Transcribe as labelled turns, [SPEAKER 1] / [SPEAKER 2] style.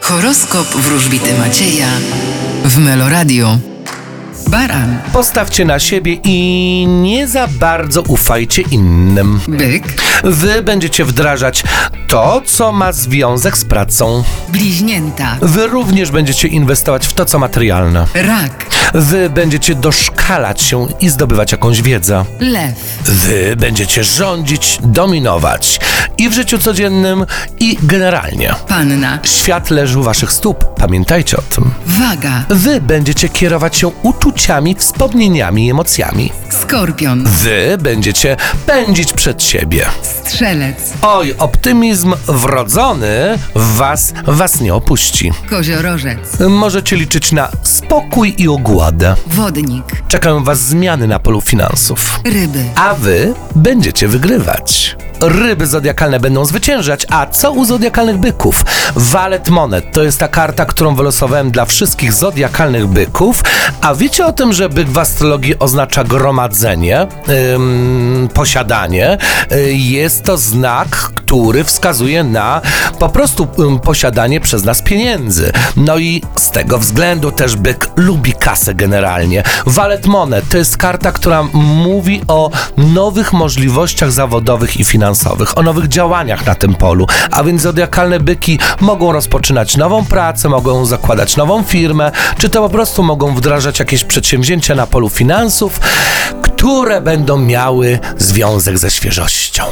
[SPEAKER 1] Horoskop wróżbity Macieja w Meloradio. Baran,
[SPEAKER 2] Postawcie na siebie i nie za bardzo ufajcie innym.
[SPEAKER 1] byk,
[SPEAKER 2] Wy będziecie wdrażać to, co ma związek z pracą.
[SPEAKER 1] bliźnięta,
[SPEAKER 2] Wy również będziecie inwestować w to, co materialne.
[SPEAKER 1] rak,
[SPEAKER 2] Wy będziecie doszkalać się i zdobywać jakąś wiedzę.
[SPEAKER 1] lew,
[SPEAKER 2] Wy będziecie rządzić, dominować i w życiu codziennym, i generalnie.
[SPEAKER 1] panna,
[SPEAKER 2] Świat leży u waszych stóp, pamiętajcie o tym.
[SPEAKER 1] waga,
[SPEAKER 2] Wy będziecie kierować się uczuciami, wspomnieniami i emocjami.
[SPEAKER 1] skorpion,
[SPEAKER 2] Wy będziecie pędzić przed siebie.
[SPEAKER 1] strzelec,
[SPEAKER 2] Oj, optymizm wrodzony w was, was nie opuści.
[SPEAKER 1] koziorożec,
[SPEAKER 2] Możecie liczyć na spokój i ogładę.
[SPEAKER 1] wodnik,
[SPEAKER 2] Czekają was zmiany na polu finansów.
[SPEAKER 1] ryby,
[SPEAKER 2] A wy będziecie wygrywać. Ryby zodiakalne będą zwyciężać, a co u zodiakalnych byków? Walet Monet to jest ta karta, którą wylosowałem dla wszystkich zodiakalnych byków. A wiecie o tym, że byk w astrologii oznacza gromadzenie, ym, posiadanie. Y, Jest to znak, który wskazuje na po prostu ym, posiadanie przez nas pieniędzy. No i z tego względu też byk lubi kasę generalnie. Walet Monet to jest karta, która mówi o nowych możliwościach zawodowych i finansowych, o nowych działaniach na tym polu. A więc zodiakalne byki mogą rozpoczynać nową pracę, mogą zakładać nową firmę, czy to po prostu mogą wdrażać jakieś przedsięwzięcia na polu finansów, które będą miały związek ze świeżością.